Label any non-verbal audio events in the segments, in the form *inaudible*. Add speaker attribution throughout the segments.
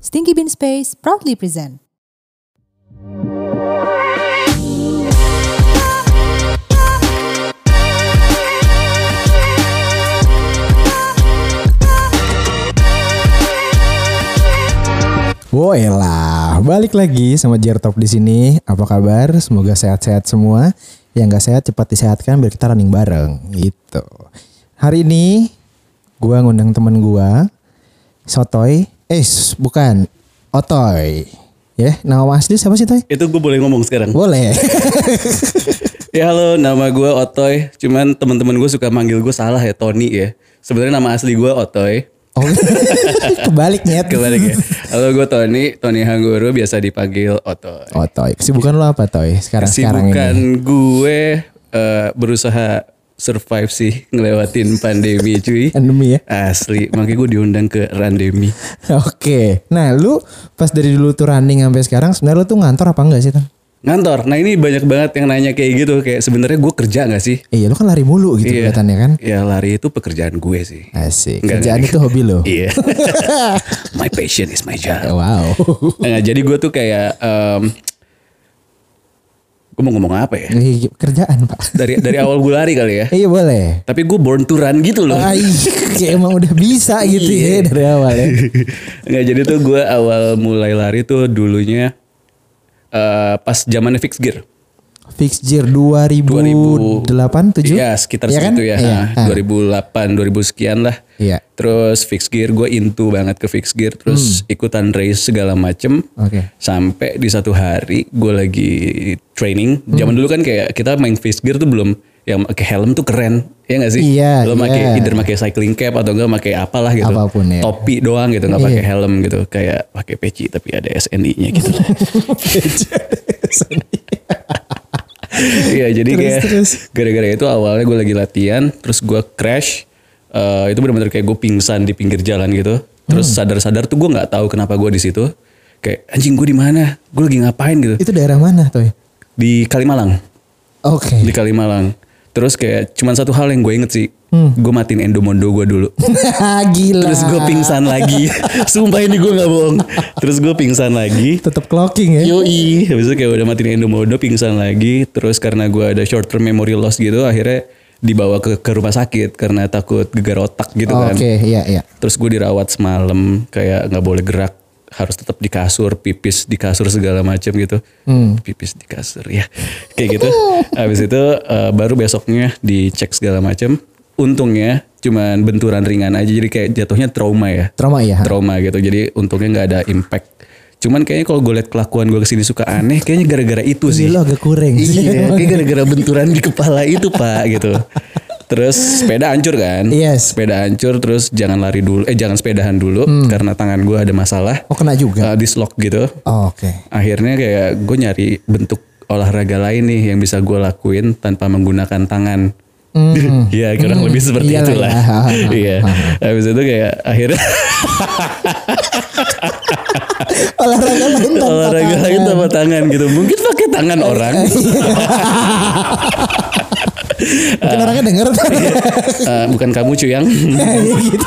Speaker 1: Stinky Bean Space proudly present.
Speaker 2: Woi lah, balik lagi sama Jertop di sini. Apa kabar? Semoga sehat-sehat semua. Yang nggak sehat cepat disehatkan biar kita running bareng gitu. Hari ini gua ngundang temen gua Sotoy. Eh, s- bukan. Otoy. Ya, nama asli siapa sih, Toy?
Speaker 3: Itu gue boleh ngomong sekarang.
Speaker 2: Boleh. *laughs*
Speaker 3: Ya halo, nama gue Otoy. Cuman teman-teman gue suka manggil gue salah ya, Tony ya. Sebenarnya nama asli gue Otoy.
Speaker 2: Oh, *laughs* kebalik nyet. *laughs*
Speaker 3: Kebalik ya. Halo gue Tony, Tony Hangguru biasa dipanggil Otoy.
Speaker 2: Otoy. Kesibukan lo apa, Toy? Sekarang Oh, nah, sekarang
Speaker 3: Kesibukan
Speaker 2: ini.
Speaker 3: gue eh, berusaha survive sih ngelewatin pandemi
Speaker 2: *laughs*
Speaker 3: cuy.
Speaker 2: Pandemi ya.
Speaker 3: Asli, makanya gue diundang ke Randemi.
Speaker 2: Oke. Nah, lu pas dari dulu tuh running sampai sekarang sebenarnya lu tuh ngantor apa enggak sih, Toy?
Speaker 3: Ngantor. Nah ini banyak banget yang nanya kayak gitu, kayak sebenarnya gue kerja nggak sih?
Speaker 2: Iya, lu kan lari mulu gitu kelihatannya kan.
Speaker 3: Ya lari itu pekerjaan gue sih.
Speaker 2: Asik.
Speaker 3: Enggak,
Speaker 2: Kerjaan
Speaker 3: enggak.
Speaker 2: itu hobi lo.
Speaker 3: Iya. *laughs* my passion is my job.
Speaker 2: wow.
Speaker 3: Nah, jadi gue tuh kayak gue mau ngomong apa ya?
Speaker 2: Ih, Kerjaan, Pak. *laughs*
Speaker 3: Dari dari awal gue lari kali ya.
Speaker 2: Iya, boleh.
Speaker 3: Tapi gue born to run gitu loh.
Speaker 2: Ay, kayak emang udah bisa gitu ya
Speaker 3: Iya.
Speaker 2: dari awal ya.
Speaker 3: Nggak jadi tuh gue awal mulai lari tuh dulunya eh, pas zamannya fix gear.
Speaker 2: Fix Year 2008 7?
Speaker 3: Iya sekitar
Speaker 2: Iya kan?
Speaker 3: segitu ya.
Speaker 2: Iya.
Speaker 3: Nah, 2008 2000 sekian lah.
Speaker 2: Iya.
Speaker 3: Terus fix gear gue into banget ke fix gear terus
Speaker 2: Hmm.
Speaker 3: ikutan race segala macem.
Speaker 2: Oke.
Speaker 3: sampai di satu hari gue lagi training
Speaker 2: Hmm.
Speaker 3: zaman dulu kan kayak kita main face gear tuh belum yang pakai helm tuh keren ya nggak sih
Speaker 2: Iya,
Speaker 3: lo
Speaker 2: iya.
Speaker 3: pakai either pakai cycling cap atau enggak pakai apalah gitu
Speaker 2: Apapun, Iya. ya.
Speaker 3: topi doang gitu nggak pakai helm gitu kayak pakai peci tapi ada SNI-nya
Speaker 2: *laughs*
Speaker 3: gitu *laughs* Iya jadi kayak gara-gara itu awalnya gue lagi latihan terus gue crash Eh, itu benar-benar kayak gue pingsan di pinggir jalan gitu terus sadar-sadar tuh gue nggak tahu kenapa gue di situ kayak anjing gue di mana gue lagi ngapain gitu
Speaker 2: Itu daerah mana, Toy?
Speaker 3: di Kalimalang
Speaker 2: Oke.
Speaker 3: di Kalimalang terus kayak cuman satu hal yang gue inget sih gue matiin endomondo gue dulu
Speaker 2: *laughs* Gila.
Speaker 3: terus gue pingsan lagi sumpah ini gue nggak bohong terus gue pingsan lagi
Speaker 2: Tetap clocking
Speaker 3: Iya,
Speaker 2: ya.
Speaker 3: Yoi, habis itu kayak udah matiin endomodo pingsan lagi, terus karena gua ada short term memory loss gitu, akhirnya dibawa ke, ke rumah sakit karena takut gegar otak gitu kan.
Speaker 2: Oke, iya iya.
Speaker 3: Terus gue dirawat semalam, kayak nggak boleh gerak, harus tetap di kasur, pipis di kasur segala macem gitu. Pipis di kasur ya, *laughs* kayak gitu. Habis itu eh, baru besoknya dicek segala macem. Untungnya cuman benturan ringan aja, jadi kayak jatuhnya trauma ya
Speaker 2: Trauma ya.
Speaker 3: trauma gitu. Jadi untungnya nggak ada impact. Cuman kayaknya kalau gue liat kelakuan gue kesini suka aneh, kayaknya gara-gara itu sih.
Speaker 2: Ini lo agak kurang sih. *laughs*
Speaker 3: Iya, kayak gara-gara benturan di kepala itu pak gitu. Terus sepeda hancur kan?
Speaker 2: Yes. Hmm.
Speaker 3: Sepeda hancur, terus jangan lari dulu, eh jangan sepedahan dulu karena tangan gue ada masalah,
Speaker 2: Oh, kena juga.
Speaker 3: eh, dislok gitu.
Speaker 2: Oke.
Speaker 3: Akhirnya kayak gue nyari bentuk olahraga lain nih yang bisa gue lakuin tanpa menggunakan tangan. *laughs* Iya kurang lebih seperti
Speaker 2: Hmm. Iyalah,
Speaker 3: itulah.
Speaker 2: ya.
Speaker 3: *laughs* Iya. Habis itu kayak akhirnya
Speaker 2: Olahraga lain tanpa
Speaker 3: olahraga
Speaker 2: tangan.
Speaker 3: lain Oh, tanpa tangan gitu mungkin pakai
Speaker 2: *laughs*
Speaker 3: tangan orang
Speaker 2: Iya. Mungkin orangnya denger.
Speaker 3: Eh, bukan kamu
Speaker 2: *laughs*
Speaker 3: cuyang
Speaker 2: gitu.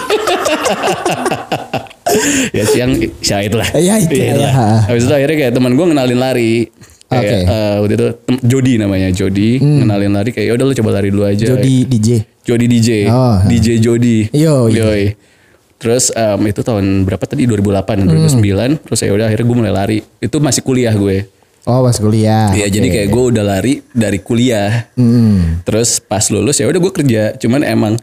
Speaker 3: ya cuyang syahid lah
Speaker 2: Ya, itu,
Speaker 3: Iya lah.
Speaker 2: ya.
Speaker 3: habis itu akhirnya kayak teman gue ngenalin lari kayak
Speaker 2: Oke. Hmm.
Speaker 3: eh, waktu itu tem- Jody namanya Jody ngenalin lari kayak "Ya udah lo coba lari dulu aja
Speaker 2: Jody DJ.
Speaker 3: Jody DJ
Speaker 2: Oh.
Speaker 3: DJ Jody
Speaker 2: Yo, iya.
Speaker 3: Yoi. terus em, itu tahun berapa tadi
Speaker 2: Hmm.
Speaker 3: 2008 2009 terus ya udah akhirnya gue mulai lari itu masih kuliah gue
Speaker 2: Oh pas kuliah.
Speaker 3: Iya jadi kayak gue udah lari dari kuliah. Terus pas lulus ya udah gue kerja. Cuman emang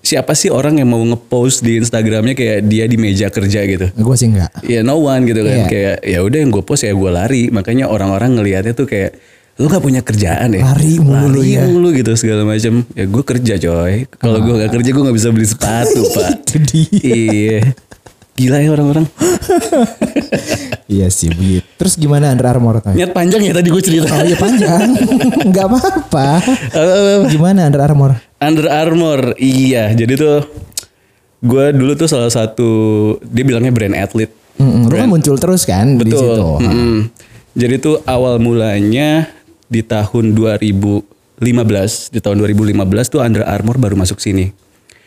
Speaker 3: siapa sih orang yang mau ngepost di Instagramnya kayak dia di meja kerja gitu?
Speaker 2: Gue sih enggak.
Speaker 3: Ya no one gitu
Speaker 2: Iya.
Speaker 3: kan. Kayak ya udah yang gue post ya gue lari. Makanya orang-orang ngelihatnya tuh kayak lu nggak punya kerjaan ya?
Speaker 2: Lari mulu lu
Speaker 3: Lari
Speaker 2: ya.
Speaker 3: mulu gitu segala macam. Ya gue kerja coy. Kalau gue nggak kerja gue nggak bisa beli
Speaker 2: *laughs*
Speaker 3: sepatu pak.
Speaker 2: Itu dia.
Speaker 3: iya. Gila ya orang-orang.
Speaker 2: iya sih begitu. Terus gimana Under Armour Toy?
Speaker 3: Niat panjang ya tadi gue cerita.
Speaker 2: Oh iya panjang. *laughs* Enggak
Speaker 3: *laughs*
Speaker 2: apa-apa.
Speaker 3: Eh,
Speaker 2: Gimana Under Armour?
Speaker 3: Under Armour, iya. Jadi tuh gue dulu tuh salah satu dia bilangnya brand atlet.
Speaker 2: Mm-mm, Lu kan muncul terus kan di
Speaker 3: Betul.
Speaker 2: situ.
Speaker 3: Mm-mm. Jadi tuh awal mulanya di tahun 2015, di tahun 2015 tuh Under Armour baru masuk sini.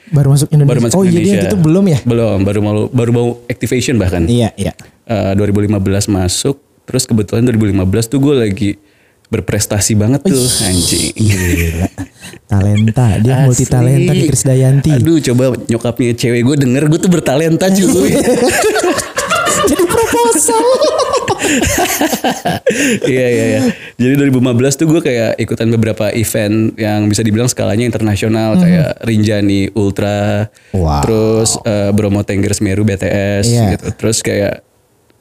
Speaker 2: Baru masuk Indonesia.
Speaker 3: Baru masuk
Speaker 2: oh iya
Speaker 3: Indonesia.
Speaker 2: dia gitu belum ya?
Speaker 3: Belum, baru mau baru mau activation bahkan.
Speaker 2: Iya, iya.
Speaker 3: eh, 2015 masuk, terus kebetulan 2015 tuh gue lagi berprestasi banget tuh anjing.
Speaker 2: Gila. Talenta, dia multi talenta di
Speaker 3: Asli.
Speaker 2: Kris Dayanti.
Speaker 3: Aduh coba nyokapnya cewek gue denger gue tuh bertalenta cuy.
Speaker 2: *laughs* Jadi proposal.
Speaker 3: *laughs* Iya iya iya. Jadi 2015 tuh gue kayak ikutan beberapa event yang bisa dibilang skalanya internasional kayak Rinjani Ultra,
Speaker 2: Mhm. Wow.
Speaker 3: terus eh, Bromo Tengger Semeru BTS
Speaker 2: Iya.
Speaker 3: gitu. Terus kayak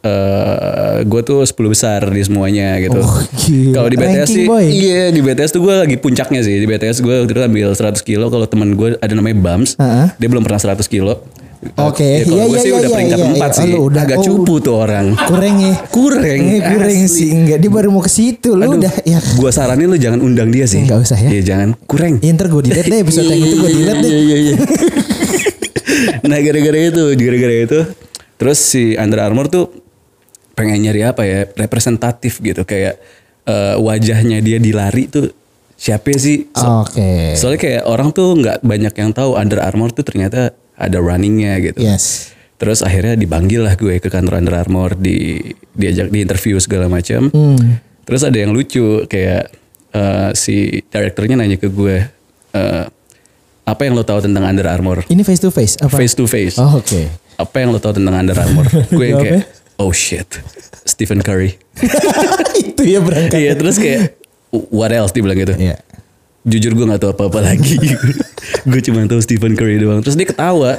Speaker 3: eh gue tuh 10 besar di semuanya gitu.
Speaker 2: Oh, gila.
Speaker 3: Kalau di BTS
Speaker 2: Ranking,
Speaker 3: sih,
Speaker 2: boy.
Speaker 3: iya di BTS tuh gue lagi puncaknya sih. Di BTS gue waktu itu ambil 100 kilo. Kalau teman gue ada namanya Bams,
Speaker 2: Heeh.
Speaker 3: dia belum pernah 100 kilo.
Speaker 2: Oke,
Speaker 3: Eh,
Speaker 2: iya,
Speaker 3: kalau gue
Speaker 2: iya,
Speaker 3: sih
Speaker 2: iya,
Speaker 3: udah
Speaker 2: iya,
Speaker 3: peringkat
Speaker 2: iya, iya.
Speaker 3: empat
Speaker 2: Oh,
Speaker 3: sih.
Speaker 2: lu udah-
Speaker 3: Agak
Speaker 2: oh,
Speaker 3: cupu tuh orang.
Speaker 2: Kurang ya.
Speaker 3: Kurang,
Speaker 2: Eh, kurang
Speaker 3: asli.
Speaker 2: sih enggak. Dia baru mau ke situ lu
Speaker 3: Aduh,
Speaker 2: udah ya.
Speaker 3: Gua saranin lu jangan undang dia sih.
Speaker 2: Nggak usah ya.
Speaker 3: Iya jangan. Kurang.
Speaker 2: Ya, ntar gue delete deh episode yang itu gue delete deh.
Speaker 3: Iya iya iya. nah gara-gara itu, gara-gara itu, terus si Under Armour tuh pengen nyari apa ya representatif gitu kayak eh, wajahnya dia di lari tuh siapa sih? So-
Speaker 2: Oke.
Speaker 3: Soalnya kayak orang tuh nggak banyak yang tahu Under Armour tuh ternyata ada runningnya gitu.
Speaker 2: Yes.
Speaker 3: Terus akhirnya dipanggil lah gue ke kantor Under Armour di diajak di interview segala macam.
Speaker 2: Hmm.
Speaker 3: Terus ada yang lucu kayak eh, si direkturnya nanya ke gue eh, apa yang lo tahu tentang Under Armour
Speaker 2: Ini face to face apa?
Speaker 3: face to face.
Speaker 2: Iya, Oh, Oke. *laughs*
Speaker 3: Apa yang lo tahu tentang Under Armour? gue yang kayak oh shit Stephen Curry.
Speaker 2: itu ya berangkat.
Speaker 3: Iya terus kayak what else dibilang gitu
Speaker 2: Iya.
Speaker 3: jujur gue nggak tahu apa-apa lagi *laughs* gue cuma tahu Stephen Curry doang terus dia ketawa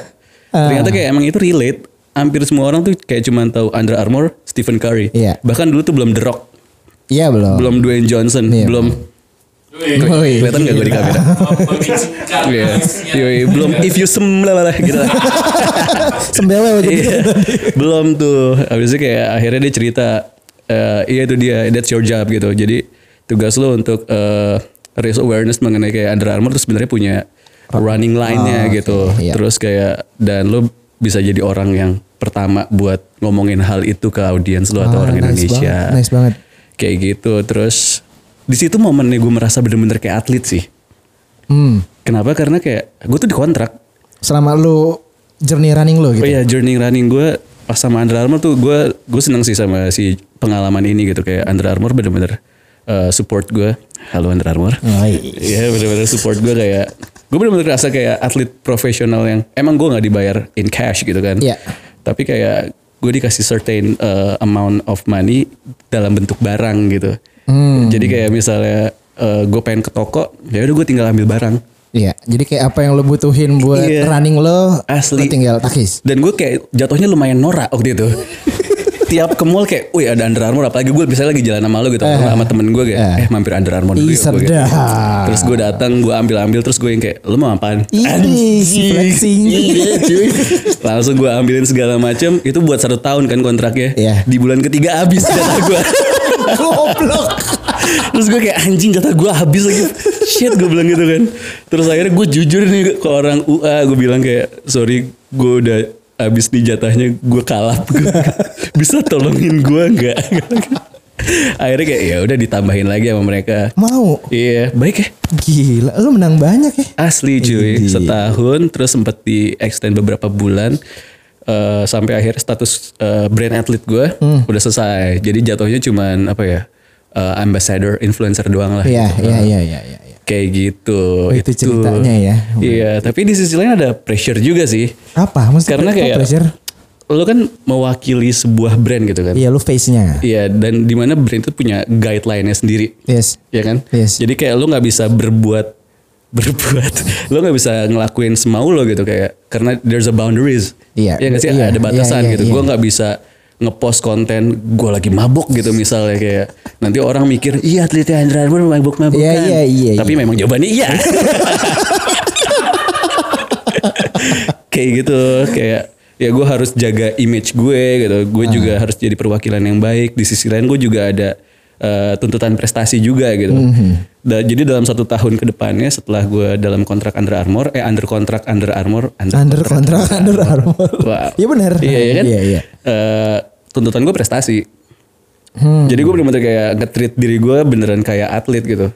Speaker 3: ternyata kayak emang itu relate hampir semua orang tuh kayak cuma tahu Under Armour Stephen Curry
Speaker 2: Iya.
Speaker 3: bahkan dulu tuh belum The Rock
Speaker 2: Iya belum.
Speaker 3: belum Dwayne Johnson
Speaker 2: Iya.
Speaker 3: belum
Speaker 2: Woi.
Speaker 3: kelihatan nggak gue di kamera Iya. Yoi, belum if you sem lah lah, gitu lah.
Speaker 2: *laughs* Sembelnya waktu itu.
Speaker 3: Iya. belum tuh habis itu kayak akhirnya dia cerita eh, iya itu dia that's your job gitu jadi tugas lo untuk eh, raise awareness mengenai kayak Under Armour tuh sebenarnya punya running line-nya
Speaker 2: Oh,
Speaker 3: gitu
Speaker 2: oke, iya.
Speaker 3: terus kayak dan lo bisa jadi orang yang pertama buat ngomongin hal itu ke audiens lo atau
Speaker 2: Ah,
Speaker 3: orang
Speaker 2: nice
Speaker 3: Indonesia
Speaker 2: banget, nice banget.
Speaker 3: kayak gitu terus di situ momennya gue merasa bener-bener kayak atlet sih
Speaker 2: Hmm.
Speaker 3: kenapa karena kayak gue tuh dikontrak
Speaker 2: Selama lu journey running lu gitu.
Speaker 3: Oh iya journey running gue pas sama Under Armour tuh gue gue seneng sih sama si pengalaman ini gitu kayak Under Armour bener-bener eh, support gue. Halo Under Armour.
Speaker 2: Oi.
Speaker 3: Iya bener-bener support gue kayak gue bener-bener rasa kayak atlet profesional yang emang gue nggak dibayar in cash gitu kan.
Speaker 2: Iya.
Speaker 3: Tapi kayak gue dikasih certain eh, amount of money dalam bentuk barang gitu.
Speaker 2: Hmm.
Speaker 3: Jadi kayak misalnya gue pengen ke toko, ya udah gue tinggal ambil barang.
Speaker 2: Iya, jadi kayak apa yang lo butuhin buat
Speaker 3: Iya.
Speaker 2: running lo, lo
Speaker 3: Asli.
Speaker 2: tinggal
Speaker 3: *laughs*
Speaker 2: takis.
Speaker 3: Dan gue kayak jatuhnya lumayan norak waktu itu. *laughs* Tiap ke mall kayak, wih ada Under Armour. Apalagi gue bisa lagi jalan sama lo gitu. atau sama temen gue kayak, eh mampir Under Armour dulu
Speaker 2: Ih,
Speaker 3: ya. gua gitu.
Speaker 2: sedap.
Speaker 3: Terus gue datang, gue ambil-ambil. Terus gue yang kayak, lo mau apaan?
Speaker 2: Ini
Speaker 3: Anjing.
Speaker 2: flexing.
Speaker 3: Iya, cuy. Langsung gue ambilin segala macem. Itu buat satu tahun kan kontraknya.
Speaker 2: Iya.
Speaker 3: Di bulan ketiga habis jatah gue. *laughs*
Speaker 2: Goblok.
Speaker 3: Terus gue kayak anjing jatah gue habis lagi. Shit gue bilang gitu kan. Terus akhirnya gue jujur nih ke orang UA. Gue bilang kayak sorry gue udah habis nih jatahnya gue kalap. *laughs* Bisa tolongin gue nggak? *laughs* akhirnya kayak ya udah ditambahin lagi sama mereka.
Speaker 2: Mau.
Speaker 3: Iya baik ya.
Speaker 2: Gila, lo menang banyak ya.
Speaker 3: Asli cuy,
Speaker 2: Iya.
Speaker 3: setahun terus sempat di extend beberapa bulan eh, sampai akhir status eh, brand atlet gue
Speaker 2: Hmm.
Speaker 3: udah selesai. Jadi jatuhnya cuman apa ya? eh, ambassador, influencer doang lah.
Speaker 2: Iya,
Speaker 3: gitu.
Speaker 2: iya, iya, iya, iya. iya.
Speaker 3: Kayak gitu.
Speaker 2: Oh, itu ceritanya ya.
Speaker 3: Iya, tapi di sisi lain ada pressure juga sih.
Speaker 2: Apa? Maksudnya
Speaker 3: Karena
Speaker 2: kok
Speaker 3: kayak
Speaker 2: pressure?
Speaker 3: lo kan mewakili sebuah brand gitu kan.
Speaker 2: Iya, lu face-nya.
Speaker 3: Iya, dan di mana brand itu punya guideline-nya sendiri.
Speaker 2: Yes.
Speaker 3: Iya kan?
Speaker 2: Yes.
Speaker 3: Jadi kayak lu nggak bisa berbuat *laughs* berbuat, lu nggak bisa ngelakuin semau lo gitu kayak karena there's a boundaries.
Speaker 2: Iya.
Speaker 3: Iya nggak sih?
Speaker 2: Iya,
Speaker 3: Ada batasan
Speaker 2: iya, iya,
Speaker 3: gitu.
Speaker 2: iya.
Speaker 3: Gua nggak bisa ngepost konten gue lagi mabok gitu misalnya kayak nanti orang mikir iya atletnya Andra Armour mabok-mabokan.
Speaker 2: Iya, iya, iya,
Speaker 3: Tapi memang jawabannya iya.
Speaker 2: *laughs*
Speaker 3: kayak gitu kayak ya gue harus jaga image gue gitu gue juga harus jadi perwakilan yang baik di sisi lain gue juga ada eh, tuntutan prestasi juga gitu Da- jadi dalam satu tahun ke depannya setelah gue dalam kontrak Under Armour eh under kontrak Under Armour under,
Speaker 2: Under kontrak, under armor.
Speaker 3: Wah.
Speaker 2: Iya benar.
Speaker 3: Iya, iya kan?
Speaker 2: Iya, iya.
Speaker 3: Eh, tuntutan gue
Speaker 2: Hmm.
Speaker 3: prestasi. Jadi gue bener-bener kayak nge-treat diri gue beneran kayak atlet gitu.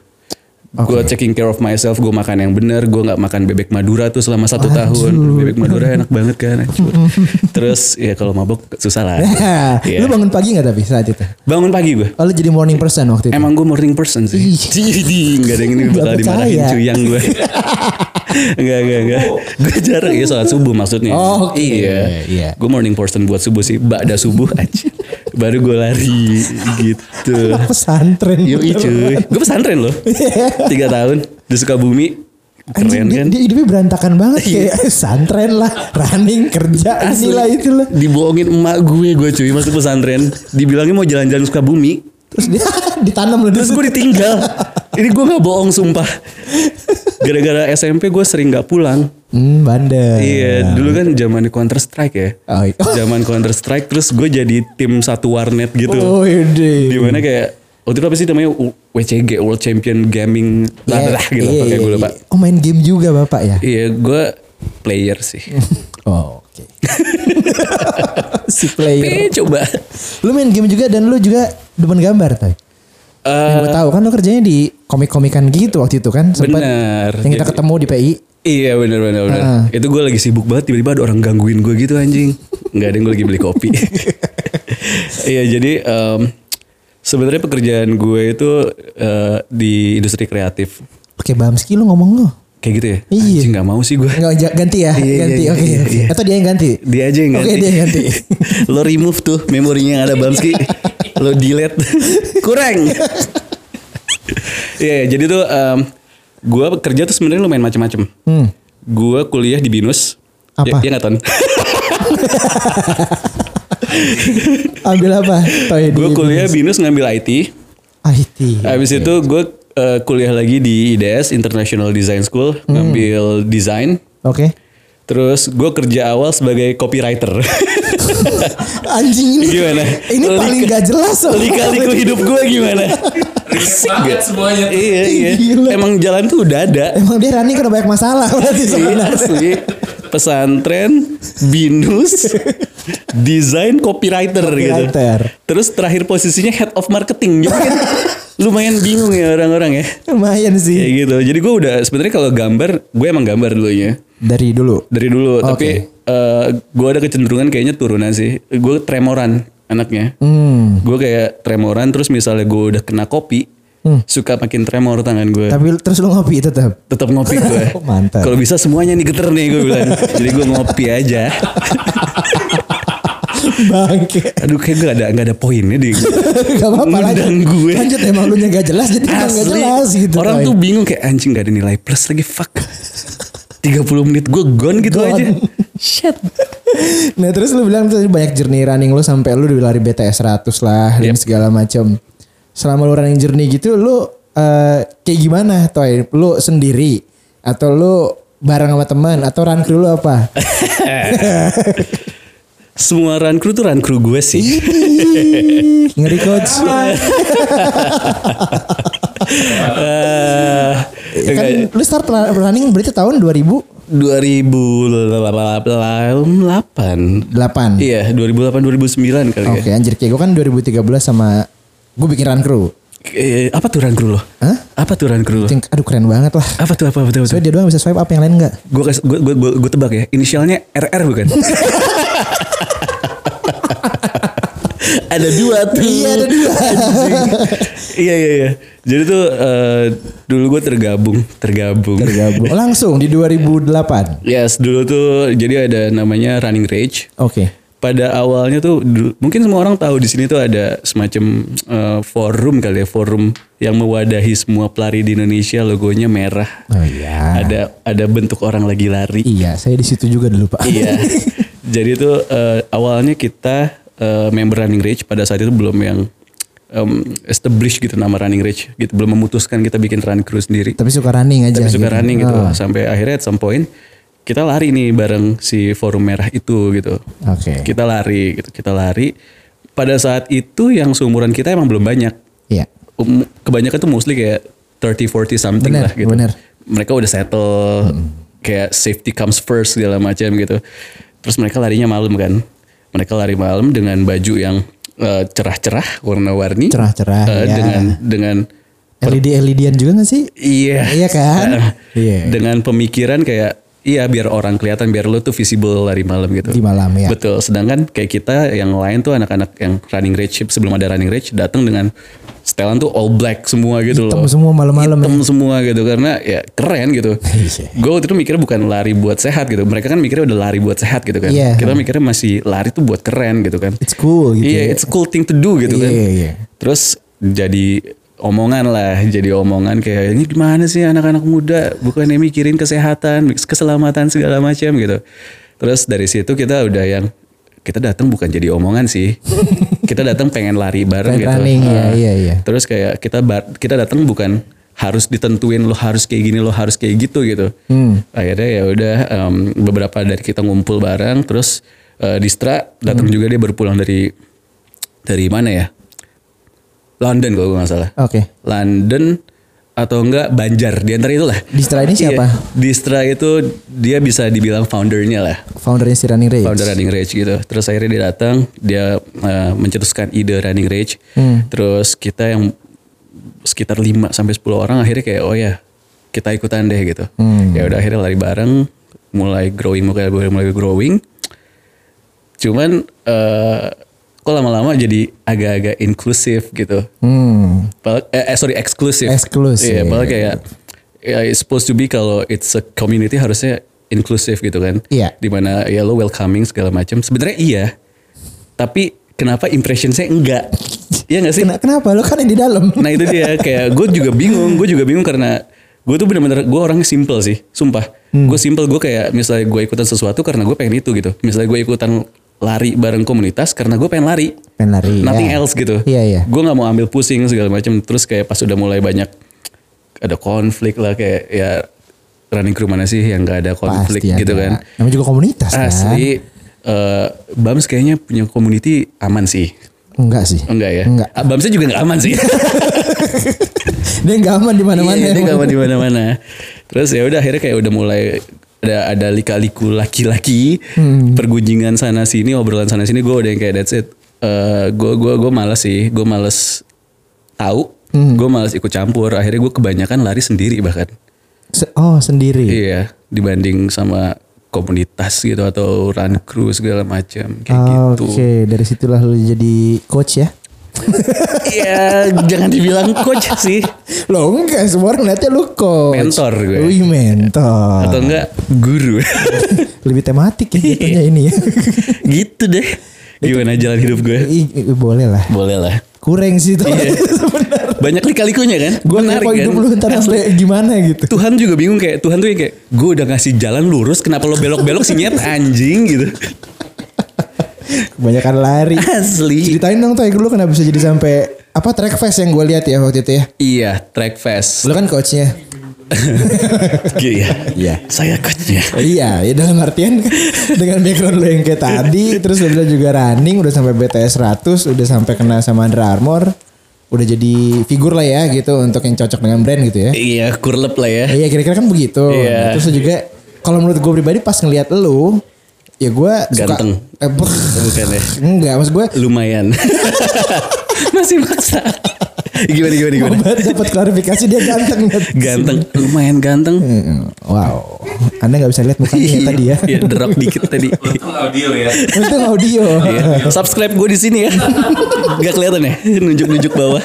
Speaker 3: Gue taking care of myself, gue makan yang bener, gue nggak makan bebek Madura tuh selama satu tahun. Bebek Madura enak banget kan.
Speaker 2: *laughs*
Speaker 3: Ajur. Terus ya kalau mabok susah lah.
Speaker 2: Lu
Speaker 3: Iya.
Speaker 2: bangun pagi nggak tapi saat itu?
Speaker 3: Bangun pagi gue.
Speaker 2: Oh, lu jadi morning person waktu itu?
Speaker 3: Emang gue morning person sih. *laughs* Jadi nggak ada yang ini
Speaker 2: Iya. Nggak
Speaker 3: bakal dimarahin
Speaker 2: percaya.
Speaker 3: cuyang
Speaker 2: *laughs*
Speaker 3: gue. Enggak, enggak, enggak. Gue jarang ya sholat subuh maksudnya.
Speaker 2: Oh, oke.
Speaker 3: Iya.
Speaker 2: Iya.
Speaker 3: Gue morning person buat subuh sih. Bada subuh aja. Baru gue lari gitu.
Speaker 2: Anak pesantren.
Speaker 3: Yoi cuy. Gue pesantren
Speaker 2: *laughs*
Speaker 3: loh. Tiga tahun. Di Sukabumi.
Speaker 2: Anjing,
Speaker 3: Keren
Speaker 2: dia,
Speaker 3: kan? Iya.
Speaker 2: dia hidupnya berantakan banget kayak pesantren lah, running kerja, inilah itulah.
Speaker 3: Dibohongin emak gue. Gue cuy masuk pesantren. Dibilangnya mau jalan-jalan Sukabumi.
Speaker 2: Terus dia *laughs* ditanam lu di
Speaker 3: Terus gue ditinggal. Ini gue gak bohong sumpah. Gara-gara SMP gue sering gak pulang.
Speaker 2: Hmm, bandel.
Speaker 3: Iya, dulu kan zaman Counter Strike ya.
Speaker 2: Oh, Ah. iya.
Speaker 3: Zaman Counter Strike terus gue jadi tim satu warnet gitu.
Speaker 2: Oh, ide.
Speaker 3: Dimana kayak waktu itu apa sih namanya U- WCG World Champion Gaming
Speaker 2: Iya,
Speaker 3: lah lah, lah gitu pakai gue lupa.
Speaker 2: Oh, main game juga Bapak ya?
Speaker 3: Iya, gue player sih.
Speaker 2: *laughs* Oh,
Speaker 3: *laughs*
Speaker 2: oke. si player.
Speaker 3: Eh, coba.
Speaker 2: Lu main game juga dan lu juga demen gambar, Toy.
Speaker 3: Eh,
Speaker 2: yang gue tahu kan lu kerjanya di komik-komikan gitu waktu itu kan sempat
Speaker 3: Bener.
Speaker 2: yang kita
Speaker 3: Jadi-
Speaker 2: ketemu di PI.
Speaker 3: Iya benar benar benar.
Speaker 2: Heeh.
Speaker 3: Itu gue lagi sibuk banget tiba-tiba ada orang gangguin gue gitu anjing. Nggak ada yang gue lagi beli
Speaker 2: *laughs*
Speaker 3: kopi. iya jadi em, sebenarnya pekerjaan gue itu eh, di industri kreatif
Speaker 2: Oke, Bamski lu ngomong lu.
Speaker 3: kayak gitu ya.
Speaker 2: Iya.
Speaker 3: Anjing nggak mau sih gue.
Speaker 2: Enggak ja- ganti ya,
Speaker 3: Iya, iya,
Speaker 2: ganti.
Speaker 3: iya,
Speaker 2: Oke.
Speaker 3: iya, iya.
Speaker 2: Atau dia yang ganti?
Speaker 3: Dia aja yang
Speaker 2: Oke,
Speaker 3: ganti.
Speaker 2: dia yang ganti.
Speaker 3: *laughs* Lo remove tuh memorinya yang ada Bamski. Lo delete. *laughs* Kurang. Iya, jadi tuh em, gue kerja tuh sebenarnya lumayan macem-macem.
Speaker 2: Hmm.
Speaker 3: Gue kuliah di Binus.
Speaker 2: Apa?
Speaker 3: Ya, ya nggak, Ton?
Speaker 2: Ambil apa? Toy di Ah,
Speaker 3: gue kuliah Binus ngambil IT.
Speaker 2: IT.
Speaker 3: Habis itu gue eh, kuliah lagi di IDS International Design School
Speaker 2: Hmm.
Speaker 3: ngambil desain.
Speaker 2: Oke.
Speaker 3: Terus gue kerja awal sebagai copywriter. *laughs*
Speaker 2: Anjing ini.
Speaker 3: Gimana?
Speaker 2: Ini
Speaker 3: Lika-
Speaker 2: paling gak jelas. loh.
Speaker 3: Lika-liku hidup gue gimana?
Speaker 2: *laughs*
Speaker 4: Relate banget semuanya. tuh.
Speaker 3: iya iya.
Speaker 2: Gila.
Speaker 3: Emang jalan tuh udah ada.
Speaker 2: Emang dia Rani kena banyak masalah *laughs* berarti
Speaker 3: Iya
Speaker 2: sebenarnya.
Speaker 3: sih. Pesantren,
Speaker 2: *laughs*
Speaker 3: binus, desain copywriter,
Speaker 2: Copywriter.
Speaker 3: gitu. Terus terakhir posisinya head of marketing. Jadi kan lumayan bingung ya orang-orang ya.
Speaker 2: Lumayan
Speaker 3: Kayak
Speaker 2: sih.
Speaker 3: gitu. Jadi gue udah sebenarnya kalau gambar, gue emang gambar dulunya
Speaker 2: Dari dulu.
Speaker 3: dari
Speaker 2: Oke.
Speaker 3: dulu. Tapi eh gue ada kecenderungan kayaknya turunan sih. Gue tremoran anaknya.
Speaker 2: Hmm.
Speaker 3: Gue kayak tremoran. Terus misalnya gue udah kena kopi, suka makin tremor tangan gue.
Speaker 2: Hmm. Tapi terus lu ngopi tetap.
Speaker 3: Tetap ngopi gue.
Speaker 2: Mantap.
Speaker 3: Kalau bisa semuanya nih geter nih gue bilang. Jadi gue ngopi aja.
Speaker 2: *laughs* Bangke.
Speaker 3: Aduh kayak gue ada nggak ada poinnya di.
Speaker 2: gak apa-apa lanjut.
Speaker 3: Ngundang gue.
Speaker 2: Lanjut emang lu nya gak jelas jadi emang gak
Speaker 3: Asli.
Speaker 2: jelas gitu.
Speaker 3: Orang
Speaker 2: Toy.
Speaker 3: tuh bingung kayak anjing gak ada nilai plus lagi fuck. 30 menit gue gone gitu
Speaker 2: Gone.
Speaker 3: aja. Shit.
Speaker 2: *laughs* Nah terus lu bilang tadi banyak journey running lu sampai lu udah lari BTS 100 lah dan segala macam. Selama lu running journey gitu lu eh, kayak gimana Toy? Lu sendiri atau lu bareng sama teman atau run crew lu apa?
Speaker 3: *laughs* Semua run crew tuh run crew gue sih.
Speaker 2: Iya. Ngeri coach.
Speaker 3: Eh,
Speaker 2: Ya kan lu start ra- running berarti tahun 2008.
Speaker 3: 2008. Iya, 2008 2009 kali
Speaker 2: Oke
Speaker 3: ya.
Speaker 2: anjir kayak gue kan 2013 sama gue bikin run crew.
Speaker 3: Eh, apa tuh run crew lo?
Speaker 2: Hah?
Speaker 3: Apa tuh run crew lo?
Speaker 2: Think, aduh keren banget lah.
Speaker 3: Apa tuh apa apa tuh?
Speaker 2: Soalnya dia doang bisa swipe up yang lain enggak?
Speaker 3: Gue gue gue gue tebak ya. Inisialnya RR
Speaker 2: *laughs*
Speaker 3: bukan? ada dua tuh.
Speaker 2: Iya, ada dua.
Speaker 3: Anjing. iya iya iya. Jadi tuh eh, dulu gue tergabung, tergabung.
Speaker 2: Tergabung. Oh, Langsung di 2008.
Speaker 3: Yes, dulu tuh jadi ada namanya Running Rage.
Speaker 2: Oke.
Speaker 3: pada awalnya tuh dulu- mungkin semua orang tahu di sini tuh ada semacam eh, forum kali ya forum yang mewadahi semua pelari di Indonesia logonya merah
Speaker 2: Oh iya.
Speaker 3: ada ada bentuk orang lagi lari
Speaker 2: Iya, saya di situ juga dulu pak.
Speaker 3: *laughs* iya jadi tuh eh, awalnya kita eh, member Running Rage pada saat itu belum yang em, established gitu nama Running Rage gitu belum memutuskan kita bikin run crew sendiri
Speaker 2: *laughs* Tapi suka running aja.
Speaker 3: tapi suka
Speaker 2: gitu.
Speaker 3: running gitu
Speaker 2: Oh,
Speaker 3: sampai akhirnya at some point kita lari nih bareng si forum merah itu gitu
Speaker 2: Oke.
Speaker 3: kita lari gitu kita lari pada saat itu yang seumuran kita emang belum banyak
Speaker 2: Iya.
Speaker 3: Um- kebanyakan tuh mostly kayak 30 40 something
Speaker 2: Bener,
Speaker 3: lah gitu
Speaker 2: bener. Hmm.
Speaker 3: mereka udah settle kayak safety comes first segala macam gitu terus mereka larinya malam kan mereka lari malam dengan baju yang eh, cerah-cerah warna-warni
Speaker 2: Cerah-cerah,
Speaker 3: Eh,
Speaker 2: ya.
Speaker 3: dengan dengan
Speaker 2: LED LEDan E juga gak sih?
Speaker 3: Iya.
Speaker 2: Iya kan? Iya.
Speaker 3: Dengan pemikiran kayak iya biar orang kelihatan biar lu tuh visible lari malam gitu.
Speaker 2: Di malam, ya.
Speaker 3: Betul. Sedangkan kayak kita yang lain tuh anak-anak yang running rage sebelum ada running rage datang dengan setelan tuh all black semua gitu
Speaker 2: Hitam
Speaker 3: loh.
Speaker 2: semua malam-malam ya.
Speaker 3: Hitam semua gitu karena ya keren
Speaker 2: *laughs*
Speaker 3: gitu.
Speaker 2: Iya.
Speaker 3: Gue waktu itu mikirnya bukan lari buat sehat gitu. Mereka kan mikirnya udah lari buat sehat gitu kan.
Speaker 2: Iya.
Speaker 3: Kita mikirnya masih lari tuh buat keren gitu kan.
Speaker 2: It's cool gitu.
Speaker 3: Iya,
Speaker 2: ya.
Speaker 3: it's a cool thing to do gitu
Speaker 2: Iya,
Speaker 3: kan.
Speaker 2: iya, iya.
Speaker 3: Terus jadi omongan lah, jadi omongan kayak ini gimana sih anak-anak muda bukannya mikirin kesehatan, keselamatan segala macam gitu. Terus dari situ kita udah yang kita datang bukan jadi omongan sih. kita datang pengen lari bareng
Speaker 2: Pengen
Speaker 3: gitu.
Speaker 2: running, iya,
Speaker 3: Ah.
Speaker 2: iya, iya.
Speaker 3: Terus kayak kita bar- kita datang bukan harus ditentuin lo harus kayak gini lo harus kayak gitu gitu.
Speaker 2: Hmm.
Speaker 3: Akhirnya ya udah em, beberapa dari kita ngumpul bareng terus eh, Distra datang
Speaker 2: Hmm.
Speaker 3: juga dia baru pulang dari dari mana ya? London kalau gue nggak salah.
Speaker 2: Oke.
Speaker 3: London atau enggak Banjar di antara itulah.
Speaker 2: Distra ini siapa?
Speaker 3: Iya, Distra itu dia bisa dibilang foundernya lah.
Speaker 2: Foundernya si Running Rage.
Speaker 3: Founder Running Rage gitu. Terus akhirnya dia datang, dia eh, mencetuskan ide Running Rage.
Speaker 2: Hmm.
Speaker 3: Terus kita yang sekitar 5 sampai 10 orang akhirnya kayak oh ya, kita ikutan deh gitu.
Speaker 2: Hmm.
Speaker 3: Ya udah akhirnya lari bareng, mulai growing mulai mulai growing. Cuman eh kok lama-lama jadi agak-agak inklusif gitu.
Speaker 2: Hmm.
Speaker 3: Padahal- eh, eh, sorry eksklusif.
Speaker 2: Eksklusif.
Speaker 3: Iya, padahal kayak ya, it's supposed to be kalau it's a community harusnya inklusif gitu kan.
Speaker 2: Iya.
Speaker 3: Dimana ya lo welcoming segala macam. Sebenarnya iya. Tapi kenapa impression saya enggak? Iya nggak sih?
Speaker 2: Kena- kenapa? Lo kan yang di dalam.
Speaker 3: Nah itu dia kayak gue juga bingung, gue juga bingung karena gue tuh bener-bener gue orangnya simple sih, sumpah.
Speaker 2: Hmm.
Speaker 3: Gue simple gue kayak misalnya gue ikutan sesuatu karena gue pengen itu gitu. Misalnya gue ikutan lari bareng komunitas karena gue pengen lari.
Speaker 2: Pengen lari,
Speaker 3: Nothing
Speaker 2: ya.
Speaker 3: else gitu.
Speaker 2: Iya, iya.
Speaker 3: Gue nggak mau ambil pusing segala macam. Terus kayak pas udah mulai banyak ada konflik lah kayak ya running crew mana sih yang nggak ada konflik
Speaker 2: Pasti
Speaker 3: gitu
Speaker 2: ada.
Speaker 3: kan.
Speaker 2: Namanya juga komunitas kan.
Speaker 3: Asli. eh, Bams kayaknya punya community aman sih.
Speaker 2: Enggak sih.
Speaker 3: Enggak ya?
Speaker 2: Enggak.
Speaker 3: Ah, Bamsnya juga nggak aman sih. *laughs*
Speaker 2: Dia enggak aman di mana-mana.
Speaker 3: Iya, dia nggak mau di mana-mana. Terus ya udah akhirnya kayak udah mulai ada ada lika-liku laki-laki,
Speaker 2: Hmm.
Speaker 3: pergunjingan sana sini, obrolan sana sini. Gue udah yang kayak that's it. Eh, gue gue gue malas sih, gue malas tahu,
Speaker 2: Hmm.
Speaker 3: gue malas ikut campur. Akhirnya gue kebanyakan lari sendiri bahkan.
Speaker 2: *laughs* Se- oh, sendiri.
Speaker 3: Iya, dibanding sama komunitas gitu atau run crew segala macam kayak
Speaker 2: Ah, Oke,
Speaker 3: gitu.
Speaker 2: dari situlah lo jadi coach ya.
Speaker 3: Iya, jangan dibilang coach sih.
Speaker 2: Lo enggak, semua orang lihatnya lo coach.
Speaker 3: Mentor gue.
Speaker 2: Wih, mentor.
Speaker 3: Atau enggak
Speaker 2: *laughs*
Speaker 3: guru.
Speaker 2: Lebih tematik ya jatuhnya ini
Speaker 3: *laughs*
Speaker 2: ya.
Speaker 3: gitu deh gimana jalan hidup gue
Speaker 2: I- i- boleh lah.
Speaker 3: boleh lah
Speaker 2: Kurang sih tuh.
Speaker 3: Iya.
Speaker 2: *laughs*
Speaker 3: banyak lika-likunya kan
Speaker 2: Gue
Speaker 3: Menarik
Speaker 2: ngepo
Speaker 3: kan?
Speaker 2: hidup lu ntar
Speaker 3: *laughs* Asli.
Speaker 2: sampai gimana gitu.
Speaker 3: Tuhan juga bingung kayak Tuhan tuh yang kayak gue udah ngasih jalan lurus kenapa lo belok-belok sih nyet anjing gitu
Speaker 2: Kebanyakan lari.
Speaker 3: asli
Speaker 2: Ceritain dong tuh lu kenapa bisa jadi sampai apa track fest yang gue lihat ya waktu itu ya.
Speaker 3: iya track fest
Speaker 2: Lu kan coachnya.
Speaker 3: iya
Speaker 2: Iya.
Speaker 3: saya coachnya
Speaker 2: iya, ya dalam artian *laughs* kan, dengan background lu yang kayak tadi, terus lu bilang juga running, udah sampai BTS 100, udah sampai kena sama Under Armour, udah jadi figur lah ya gitu untuk yang cocok dengan brand gitu ya.
Speaker 3: iya kurlep lah ya
Speaker 2: Iya kira-kira kan begitu.
Speaker 3: Iya.
Speaker 2: Nah, Terus juga kalau menurut gue pribadi pas ngelihat lu ya gue
Speaker 3: Ganteng.
Speaker 2: Suka, eh, beuh.
Speaker 3: Bukan ya?
Speaker 2: Enggak, maksud gue
Speaker 3: lumayan *laughs* masih maksa gimana gimana gimana
Speaker 2: dapat klarifikasi dia ganteng.
Speaker 3: ganteng lumayan ganteng
Speaker 2: Hmm, Wow, Anda nggak bisa lihat mukanya ya tadi ya.
Speaker 3: Iya, drop dikit tadi *laughs*
Speaker 4: Untung audio ya.
Speaker 2: Itu audio.
Speaker 3: Iya. *laughs* Subscribe gue di sini *laughs* ya. Gak kelihatan ya? Nunjuk-nunjuk bawah.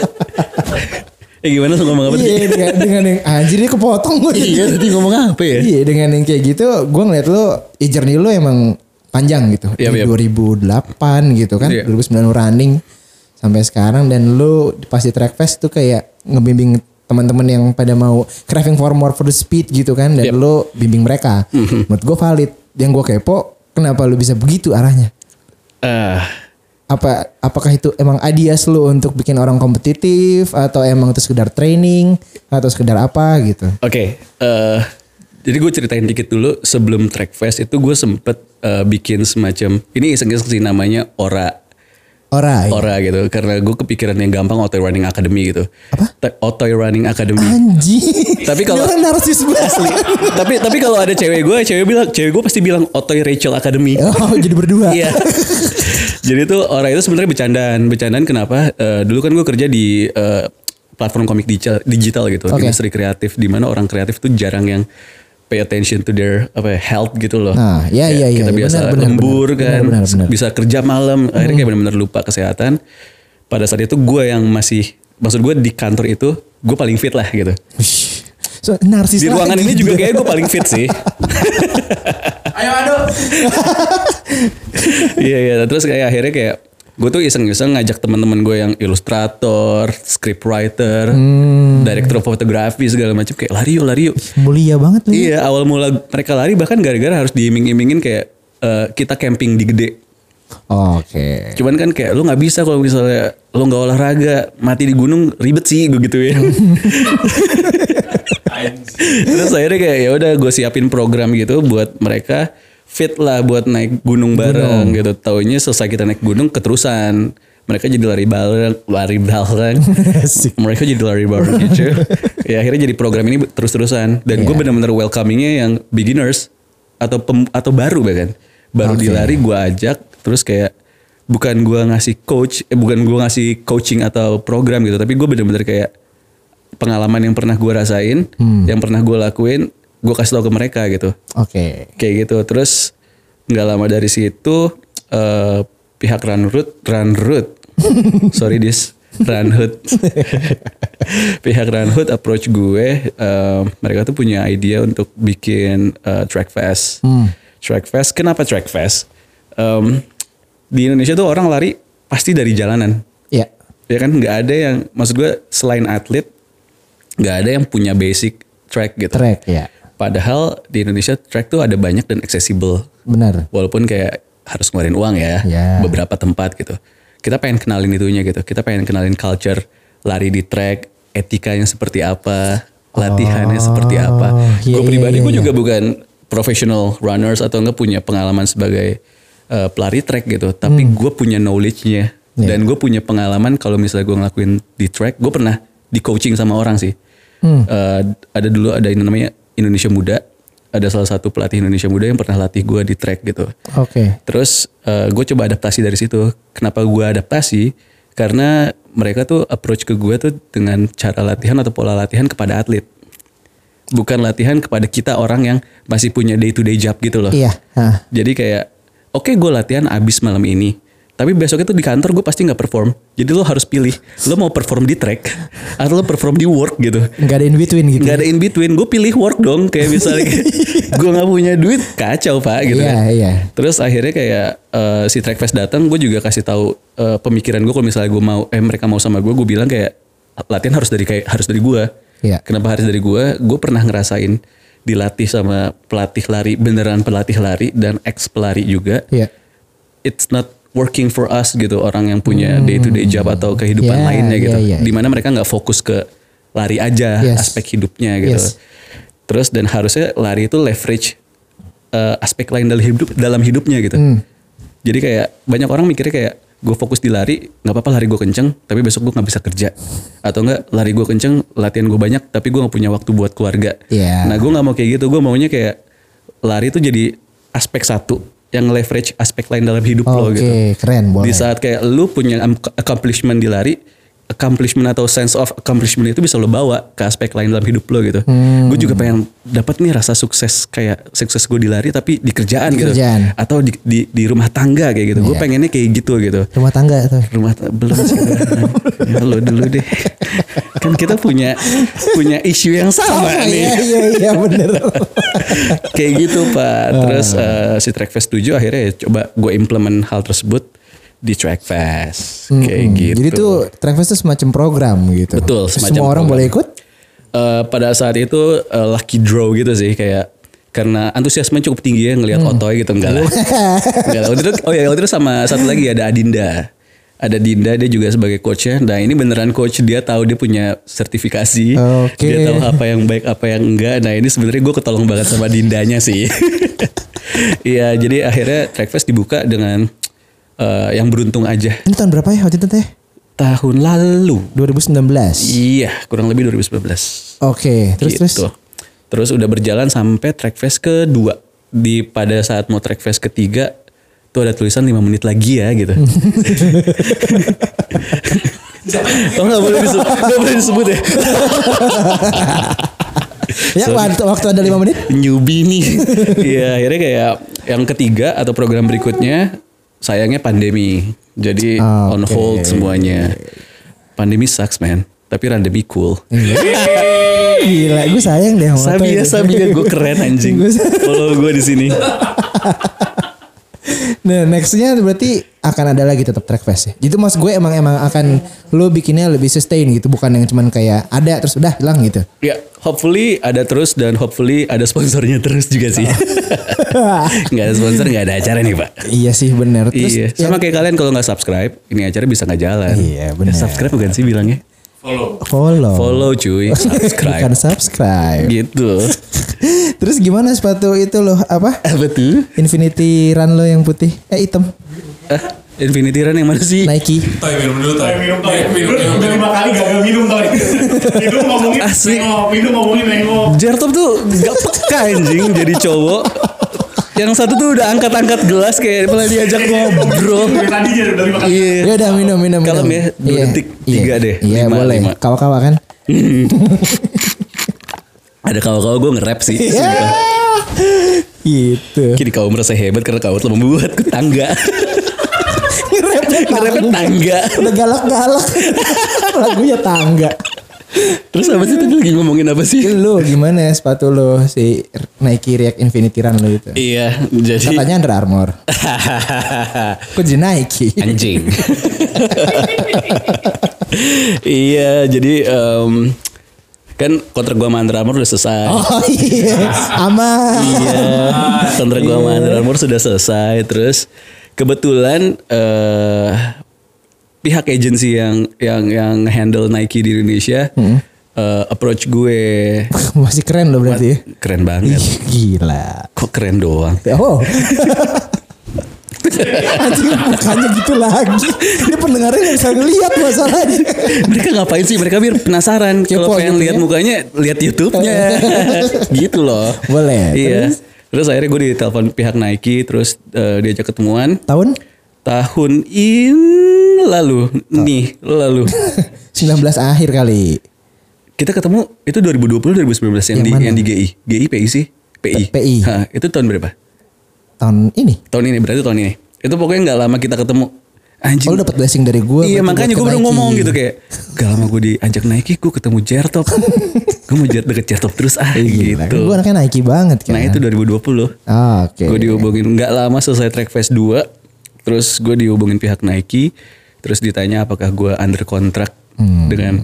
Speaker 3: eh gimana lu ngomong apa tadi?
Speaker 2: Iya, dengan, dengan yang anjir ini kepotong gue.
Speaker 3: Iya, tadi ngomong apa ya?
Speaker 2: Iya, dengan yang kayak gitu, gue ngeliat lu, ya journey lu emang panjang gitu.
Speaker 3: Iya,
Speaker 2: Dari
Speaker 3: iya.
Speaker 2: 2008 gitu kan,
Speaker 3: Iya.
Speaker 2: 2009 lu running sampai sekarang dan lu pasti track fest tuh kayak ngebimbing teman-teman yang pada mau craving for more for the speed gitu kan dan
Speaker 3: Iya. Mhm.
Speaker 2: lu bimbing mereka. Menurut gue valid. Yang gue kepo, kenapa lu bisa begitu arahnya?
Speaker 3: Ah,
Speaker 2: apa apakah itu emang adias lu untuk bikin orang kompetitif atau emang itu sekedar training atau sekedar apa gitu
Speaker 3: Oke. eh, jadi gue ceritain dikit dulu sebelum track fest itu gue sempet eh, bikin semacam ini iseng-iseng sih namanya ora
Speaker 2: ora ya?
Speaker 3: ora gitu karena gue kepikiran yang gampang Otoy Running Academy gitu. Apa? Otoy Running Academy.
Speaker 2: Ah, iya. anjing
Speaker 3: Tapi kalau-
Speaker 2: Ini orang narsis
Speaker 3: Asli.
Speaker 2: banget
Speaker 3: tapi tapi kalau ada cewek gue, cewek bilang, cewek gue pasti bilang Otoy Rachel Academy.
Speaker 2: oh jadi berdua *laughs*
Speaker 3: Iya. Jadi tuh orang itu sebenarnya bercandaan. Bercandaan kenapa? Eh, dulu kan gue kerja di eh, platform komik digital, digital gitu,
Speaker 2: Oke.
Speaker 3: industri kreatif di mana orang kreatif tuh jarang yang pay attention to their apa ya, health gitu loh.
Speaker 2: Nah, iya, iya,
Speaker 3: Kayak
Speaker 2: iya,
Speaker 3: Kita
Speaker 2: iya,
Speaker 3: biasa
Speaker 2: benar, benar,
Speaker 3: lembur
Speaker 2: benar,
Speaker 3: kan,
Speaker 2: benar, benar.
Speaker 3: bisa kerja malam, akhirnya kayak benar-benar lupa kesehatan. Pada saat itu gue yang masih maksud gue di kantor itu gue paling fit lah gitu.
Speaker 2: Wish. So, narsis
Speaker 3: Di
Speaker 2: lah
Speaker 3: ruangan ini
Speaker 2: gitu.
Speaker 3: juga kayak gue paling fit sih.
Speaker 4: Ayo aduh.
Speaker 3: *laughs* Iya iya terus kayak akhirnya kayak gue tuh iseng-iseng ngajak teman-teman gue yang ilustrator, scriptwriter, director fotografi segala macam kayak lari yuk lari yuk.
Speaker 2: mulia banget lu.
Speaker 3: Iya awal mula mereka lari bahkan gara-gara harus diiming-imingin kayak eh, kita camping di gede.
Speaker 2: Oke.
Speaker 3: Cuman kan kayak lu nggak bisa kalau misalnya lu nggak olahraga mati di gunung ribet sih gue gitu ya. *laughs* Terus akhirnya kayak ya udah gue siapin program gitu buat mereka fit lah buat naik gunung bareng gitu. Taunya selesai kita naik gunung keterusan mereka jadi lari bareng, lari bareng.
Speaker 2: Asik.
Speaker 3: mereka jadi lari bareng gitu. ya akhirnya jadi program ini terus-terusan dan gue bener-bener welcomingnya yang beginners atau pem- atau baru bahkan baru
Speaker 2: Oke.
Speaker 3: dilari gue ajak terus kayak bukan gue ngasih coach eh, bukan gue ngasih coaching atau program gitu tapi gue bener-bener kayak pengalaman yang pernah gue rasain, yang pernah gue lakuin, gue kasih tau ke mereka gitu,
Speaker 2: Oke.
Speaker 3: kayak gitu. Terus nggak lama dari situ eh, pihak Runroot, Runroot, *laughs* sorry dis, Runhood, *laughs* pihak Runhood approach gue, eh, mereka tuh punya idea untuk bikin eh, track fest,
Speaker 2: Hmm.
Speaker 3: track fest. Kenapa track fest? Em, di Indonesia tuh orang lari pasti dari jalanan
Speaker 2: Ya.
Speaker 3: ya kan nggak ada yang maksud gue selain atlet nggak ada yang punya basic track gitu
Speaker 2: Track ya.
Speaker 3: padahal di Indonesia track tuh ada banyak dan accessible
Speaker 2: Benar.
Speaker 3: walaupun kayak harus ngeluarin uang ya
Speaker 2: Ya.
Speaker 3: beberapa tempat gitu kita pengen kenalin itunya gitu kita pengen kenalin culture lari di track etikanya seperti apa latihannya seperti apa
Speaker 2: iya,
Speaker 3: gue
Speaker 2: Oh, iya,
Speaker 3: pribadi
Speaker 2: iya,
Speaker 3: gue
Speaker 2: iya.
Speaker 3: juga bukan professional runners atau enggak punya pengalaman sebagai eh, pelari track gitu tapi gue punya knowledge-nya
Speaker 2: Iya.
Speaker 3: dan gue punya pengalaman kalau misalnya gue ngelakuin di track gue pernah di coaching sama orang sih Eh, ada dulu ada yang namanya Indonesia Muda ada salah satu pelatih Indonesia Muda yang pernah latih gue di track gitu
Speaker 2: Oke.
Speaker 3: Terus gue coba adaptasi dari situ. Kenapa gue adaptasi? Karena mereka tuh approach ke gue tuh dengan cara latihan atau pola latihan kepada atlet. Bukan latihan kepada kita orang yang masih punya day to day job gitu loh.
Speaker 2: Iya. Hah.
Speaker 3: Jadi kayak oke gue latihan abis malam ini. Tapi besoknya tuh di kantor gue pasti nggak perform. Jadi lo harus pilih lo mau perform di track atau lo perform di work gitu.
Speaker 2: Nggak ada in between gitu.
Speaker 3: Gak ada in between, gue pilih work dong kayak
Speaker 2: *laughs*
Speaker 3: misalnya gue nggak punya duit kacau pak gitu.
Speaker 2: Iya,
Speaker 3: kan.
Speaker 2: iya.
Speaker 3: Terus akhirnya kayak eh, si Trackfest datang, gue juga kasih tahu eh, pemikiran gue kalau misalnya gue mau, eh mereka mau sama gue, gue bilang kayak latihan harus dari kayak harus dari gue.
Speaker 2: Iya.
Speaker 3: Kenapa harus dari gue? Gue pernah ngerasain dilatih sama pelatih lari beneran pelatih lari dan ex pelari juga.
Speaker 2: Iya.
Speaker 3: It's not working for us gitu orang yang punya day to day job atau kehidupan
Speaker 2: Iya,
Speaker 3: lainnya gitu.
Speaker 2: iya, iya.
Speaker 3: Dimana mereka nggak fokus ke lari aja
Speaker 2: Yes.
Speaker 3: aspek hidupnya gitu.
Speaker 2: Yes.
Speaker 3: Terus dan harusnya lari itu leverage eh, aspek lain dalam hidup dalam hidupnya gitu.
Speaker 2: Hmm.
Speaker 3: Jadi kayak banyak orang mikirnya kayak gue fokus di lari nggak apa-apa lari gue kenceng tapi besok gue nggak bisa kerja atau enggak lari gue kenceng latihan gue banyak tapi gue nggak punya waktu buat keluarga.
Speaker 2: Iya.
Speaker 3: Nah gue nggak mau kayak gitu gue maunya kayak lari itu jadi aspek satu yang leverage aspek lain dalam hidup lo
Speaker 2: Oke,
Speaker 3: gitu.
Speaker 2: keren boleh.
Speaker 3: Di saat kayak lu punya am- accomplishment di lari, accomplishment atau sense of accomplishment itu bisa lu bawa ke aspek lain dalam hidup lu gitu.
Speaker 2: Hmm.
Speaker 3: Gue juga pengen dapat nih rasa sukses kayak sukses gue di lari tapi di kerjaan
Speaker 2: Di
Speaker 3: gitu.
Speaker 2: kerjaan.
Speaker 3: Atau di, di, di rumah tangga kayak gitu. Gue
Speaker 2: Iya.
Speaker 3: pengennya kayak gitu gitu.
Speaker 2: Rumah tangga tuh.
Speaker 3: Rumah ta- belum
Speaker 2: *laughs*
Speaker 3: sih. Ya, lu dulu deh. kan kita punya punya isu yang sama nih
Speaker 2: Iya, iya, iya
Speaker 3: *laughs*
Speaker 2: bener.
Speaker 3: kayak gitu pak
Speaker 2: Ah.
Speaker 3: terus eh, si Trackfest 7 akhirnya ya coba gue implement hal tersebut di Trackfest kayak gitu
Speaker 2: Hmm, Jadi tuh Travis tuh semacam program gitu.
Speaker 3: Betul,
Speaker 2: Semua
Speaker 3: semacam
Speaker 2: orang
Speaker 3: program.
Speaker 2: boleh ikut?
Speaker 3: Eh, pada saat itu eh, lucky draw gitu sih kayak karena antusiasme cukup tinggi ya ngelihat otoy gitu enggak lah enggak lah waktu itu oh ya waktu itu sama satu lagi ada Adinda ada Dinda dia juga sebagai coachnya nah ini beneran coach dia tahu dia punya sertifikasi
Speaker 2: Oke.
Speaker 3: dia tahu apa yang baik apa yang enggak nah ini sebenarnya gue ketolong banget sama Dindanya sih *laughs* iya jadi akhirnya Trackfest dibuka dengan eh, yang beruntung aja
Speaker 2: Ini tahun berapa ya waktu itu teh?
Speaker 3: tahun lalu
Speaker 2: 2019.
Speaker 3: iya kurang lebih 2019
Speaker 2: Oke, terus
Speaker 3: gitu.
Speaker 2: terus.
Speaker 3: Terus udah berjalan sampai track fest kedua. Di pada saat mau track fest ketiga
Speaker 2: *laughs*
Speaker 3: tuh ada tulisan 5 menit lagi ya gitu. Oh nggak boleh disebut, nggak boleh disebut ya. *laughs*
Speaker 2: Ya
Speaker 3: Sorry.
Speaker 2: waktu, waktu ada lima menit. *laughs*
Speaker 3: Newbie nih. Iya akhirnya kayak yang ketiga atau program berikutnya sayangnya pandemi. Jadi
Speaker 2: Ah,
Speaker 3: on
Speaker 2: oke.
Speaker 3: hold semuanya. Pandemi sucks man. Tapi randemi cool.
Speaker 2: Iya. Gila, gue sayang deh. sama Toy.
Speaker 3: Sabia, Sabia, gue
Speaker 2: *laughs*
Speaker 3: keren anjing.
Speaker 2: Gua sa-
Speaker 3: Follow gue di sini.
Speaker 2: Nah nextnya berarti akan ada lagi tetap track fest ya. Gitu mas gue emang emang akan lo bikinnya lebih sustain gitu, bukan yang cuman kayak ada terus udah hilang gitu. *laughs*
Speaker 3: Ya, hopefully ada terus dan hopefully ada sponsornya terus juga *laughs* sih. Nggak ada sponsor, nggak ada acara nih pak.
Speaker 2: Iya sih bener. Terus
Speaker 3: iya,
Speaker 2: ya,
Speaker 3: sama kayak kalian kalau nggak subscribe, ini acara bisa nggak jalan.
Speaker 2: Iya, benar.
Speaker 3: Ya, subscribe bukan sih bilangnya?
Speaker 4: Follow.
Speaker 2: follow. *laughs*
Speaker 3: Follow cuy,
Speaker 2: Bukan
Speaker 3: Oh. *laughs* subscribe.
Speaker 2: subscribe. *laughs*
Speaker 3: gitu.
Speaker 2: Terus gimana sepatu itu loh apa?
Speaker 3: *laughs* Apa tuh?
Speaker 2: Infinity Run lo yang putih, eh hitam,
Speaker 3: Ah, Infinity Run yang mana sih?
Speaker 2: Nike.
Speaker 4: Toy minum dulu Toy.
Speaker 5: minum
Speaker 4: Iya,
Speaker 5: toy minum udah lima kali gak gak minum toy minum ngomongin
Speaker 3: Asli.
Speaker 5: nengok minum ngomongin nengok
Speaker 3: Jertop tuh gak peka anjing jadi cowok. Yang satu tuh udah angkat-angkat gelas kayak malah diajak ngobrol.
Speaker 5: dari tadi aja udah lima kali
Speaker 3: *laughs* Iya.
Speaker 2: Ya udah minum minum.
Speaker 3: Kalem
Speaker 2: minum.
Speaker 3: ya, dua
Speaker 2: Iya,
Speaker 3: detik,
Speaker 2: iya.
Speaker 3: tiga deh,
Speaker 2: Iya
Speaker 3: lima,
Speaker 2: boleh.
Speaker 3: lima.
Speaker 2: Kawa-kawa kan?
Speaker 3: Ada kawan-kawan gue nge-rap sih.
Speaker 2: Iya.
Speaker 3: sumpah.
Speaker 2: Gitu.
Speaker 3: Kini kau merasa hebat karena kau telah membuatku *laughs* tangga.
Speaker 2: *laughs*
Speaker 3: Ngerepet tangga.
Speaker 2: Udah
Speaker 3: *laughs*
Speaker 2: galak-galak. Lagunya tangga.
Speaker 3: Terus apa sih tadi lagi ngomongin apa sih?
Speaker 2: Lu gimana ya sepatu lu si Nike React Infinity Run lu itu?
Speaker 3: Iya, jadi
Speaker 2: Katanya Under Armour. Kok jadi Nike?
Speaker 3: *laughs* anjing. *laughs* iya, jadi em, kan kontrak gua sama Under Armour udah selesai.
Speaker 2: *laughs* Oh iya. Aman.
Speaker 3: Iya, kontrak gua sama Under Armour sudah selesai. Terus kebetulan eh pihak agensi yang yang yang handle Nike di Indonesia eh, approach gue
Speaker 2: Masih keren lo berarti ya.
Speaker 3: keren banget.
Speaker 2: Ih, Gila.
Speaker 3: Kok keren doang? *laughs*
Speaker 2: Oh. *laughs* Anjing mukanya gitu lagi. Ini pendengarnya gak bisa ngeliat masalahnya.
Speaker 3: mereka ngapain sih? Mereka biar penasaran. Kalau
Speaker 2: Kepo
Speaker 3: pengen
Speaker 2: gitu
Speaker 3: lihat
Speaker 2: ya.
Speaker 3: mukanya, lihat YouTube-nya.
Speaker 2: *laughs*
Speaker 3: gitu loh.
Speaker 2: Boleh.
Speaker 3: Iya. Terus, akhirnya gue ditelepon pihak Nike, terus eh, diajak ketemuan.
Speaker 2: Tahun
Speaker 3: Tahun in lalu, nih lalu.
Speaker 2: 19 akhir kali.
Speaker 3: Kita ketemu itu 2020 2019 yang,
Speaker 2: Yang
Speaker 3: di
Speaker 2: mana?
Speaker 3: yang di GI. GI PI sih? PI.
Speaker 2: PI.
Speaker 3: Ha, itu tahun berapa?
Speaker 2: Tahun ini.
Speaker 3: Tahun ini berarti tahun ini. Itu pokoknya nggak lama kita ketemu. Anjing.
Speaker 2: Oh lu dapet blessing dari gue.
Speaker 3: iya makanya gue baru ngomong gitu kayak gak lama gue diajak Nike gue ketemu Jertop *laughs* gue mau jar deket Jertop terus ah
Speaker 2: Iya,
Speaker 3: gitu
Speaker 2: Gue kan anaknya Nike banget kan.
Speaker 3: nah itu 2020
Speaker 2: Ah, Oke.
Speaker 3: gue dihubungin nggak lama selesai Trackfest 2 terus gue dihubungin pihak Nike terus ditanya apakah gue under kontrak
Speaker 2: Hmm.
Speaker 3: dengan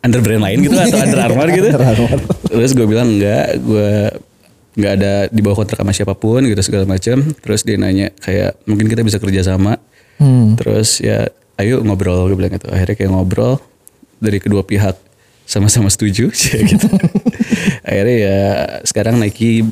Speaker 3: under brand lain gitu atau
Speaker 2: *laughs*
Speaker 3: under armor gitu
Speaker 2: Under Armour.
Speaker 3: terus gue bilang enggak gue nggak ada di bawah kontrak sama siapapun gitu segala macam terus dia nanya kayak mungkin kita bisa kerja sama
Speaker 2: Hmm.
Speaker 3: terus ya ayo ngobrol gue bilang gitu akhirnya kayak ngobrol dari kedua pihak sama-sama setuju *laughs* ya
Speaker 2: *laughs*
Speaker 3: gitu akhirnya ya sekarang Nike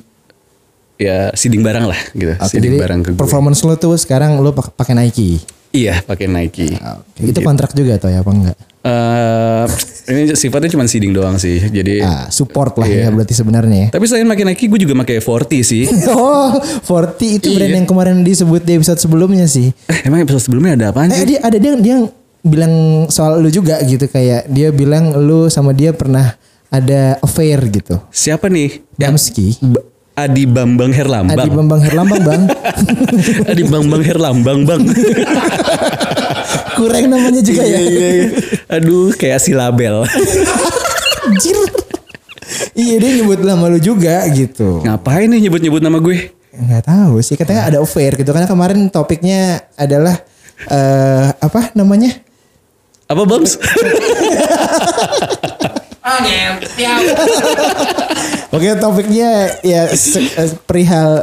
Speaker 3: ya seeding barang lah gitu
Speaker 2: Oke, jadi
Speaker 3: seeding barang ke gue
Speaker 2: performance lo tuh sekarang lo pak- pakai Nike.
Speaker 3: iya pakai Nike
Speaker 2: Itu
Speaker 3: Iya.
Speaker 2: kontrak juga atau ya apa enggak?
Speaker 3: Eh, ini sifatnya cuma seeding doang sih jadi
Speaker 2: Ah, support lah ya
Speaker 3: Iya.
Speaker 2: berarti sebenarnya ya. *laughs*
Speaker 3: Tapi selain pakai Nike, gue juga pakai 40 sih.
Speaker 2: Oh, 40 itu brand
Speaker 3: Iya.
Speaker 2: yang kemarin disebut di episode sebelumnya sih.
Speaker 3: Eh, emang episode sebelumnya ada apaan
Speaker 2: Eh
Speaker 3: sih?
Speaker 2: dia ada dia dia bilang soal lu juga gitu kayak dia bilang lu sama dia pernah ada affair gitu.
Speaker 3: Siapa nih?
Speaker 2: Ya. Damski.
Speaker 3: B- Adi Bambang
Speaker 2: Adi
Speaker 3: Herlambang.
Speaker 2: Bambang Herlambang *laughs* bang.
Speaker 3: *laughs* Adi Bambang Herlambang,
Speaker 2: *laughs*
Speaker 3: Bang.
Speaker 2: Kurang namanya juga ya.
Speaker 3: Aduh, kayak si label.
Speaker 2: Anjir. iya dia nyebut nama lu juga gitu.
Speaker 3: Ngapain nih nyebut-nyebut nama gue?
Speaker 2: Nggak tahu sih katanya ada affair gitu karena kemarin topiknya adalah eh apa namanya?
Speaker 3: Apa Bams? *laughs*
Speaker 4: Ah ngentiau.
Speaker 2: Oke topiknya ya se- eh, perihal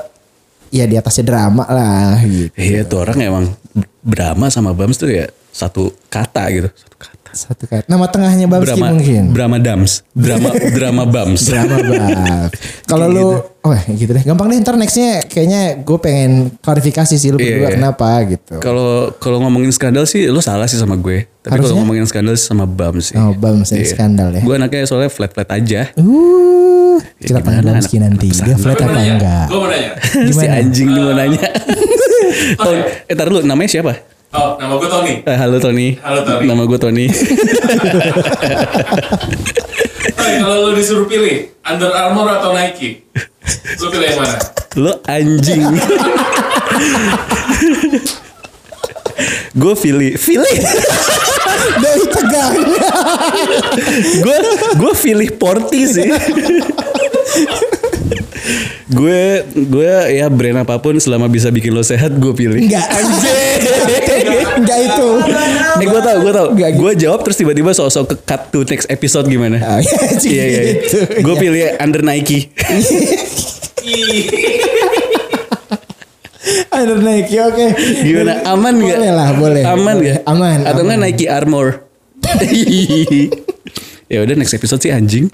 Speaker 2: ya di atasnya drama lah gitu.
Speaker 3: Iya, tuh orang emang Brahma sama Bams tuh ya satu kata gitu. Satu kata.
Speaker 2: Satu kata. Nama tengahnya Babski
Speaker 3: Brahma,
Speaker 2: mungkin.
Speaker 3: Brahma Dams.
Speaker 2: *laughs*
Speaker 3: Drama, drama Bams. *laughs*
Speaker 2: Drama bab. Kalau lu, oh gitu deh. Gampang deh ntar nextnya kayaknya gue pengen klarifikasi sih lu
Speaker 3: Iya,
Speaker 2: berdua
Speaker 3: iya.
Speaker 2: kenapa gitu.
Speaker 3: Kalau kalau ngomongin skandal sih lo salah sih sama gue. Tapi
Speaker 2: Harusnya?
Speaker 3: kalau ngomongin skandal sih sama Bam sih.
Speaker 2: Oh, Bams yang skandal ya.
Speaker 3: Gue anaknya soalnya flat-flat aja. *laughs*
Speaker 2: Uh, kita
Speaker 3: gimana,
Speaker 2: tanya
Speaker 3: anak-
Speaker 2: Bamski nanti.
Speaker 3: anak
Speaker 2: Dia flat apa enggak?
Speaker 4: Gue Iya. mau nanya. Ah. *laughs*
Speaker 3: si anjing nih mau nanya. Tahun eh tar dulu namanya siapa?
Speaker 4: Oh, nama gue Tony.
Speaker 3: Eh, halo Tony.
Speaker 4: Halo, Tony.
Speaker 3: Nama gue Tony. *laughs*
Speaker 4: Tony, kalau lu disuruh pilih Under Armour atau Nike, lu pilih yang mana?
Speaker 3: Lo
Speaker 4: *laughs*
Speaker 3: anjing. gue pilih, pilih.
Speaker 2: Dari tegang.
Speaker 3: Gue gue pilih Porti sih. gue gue ya brand apapun selama bisa bikin lo sehat gue pilih.
Speaker 2: Enggak. Enggak itu.
Speaker 3: Eh gue tau, gue tau.
Speaker 2: Nggak gitu.
Speaker 3: Gue jawab terus tiba-tiba sosok ke cut to next episode gimana?
Speaker 2: Ah, iya,
Speaker 3: *laughs* iya iya.
Speaker 2: gitu.
Speaker 3: Gue pilih under Nike. *laughs*
Speaker 4: Ih,
Speaker 2: Under Nike, ya, oke.
Speaker 3: Gimana? Aman nggak?
Speaker 2: Boleh lah, boleh.
Speaker 3: Aman
Speaker 2: Boleh.
Speaker 3: nggak?
Speaker 2: Aman.
Speaker 3: Atau nggak
Speaker 2: aman.
Speaker 3: *laughs* Nike Armor? ya udah next episode sih anjing.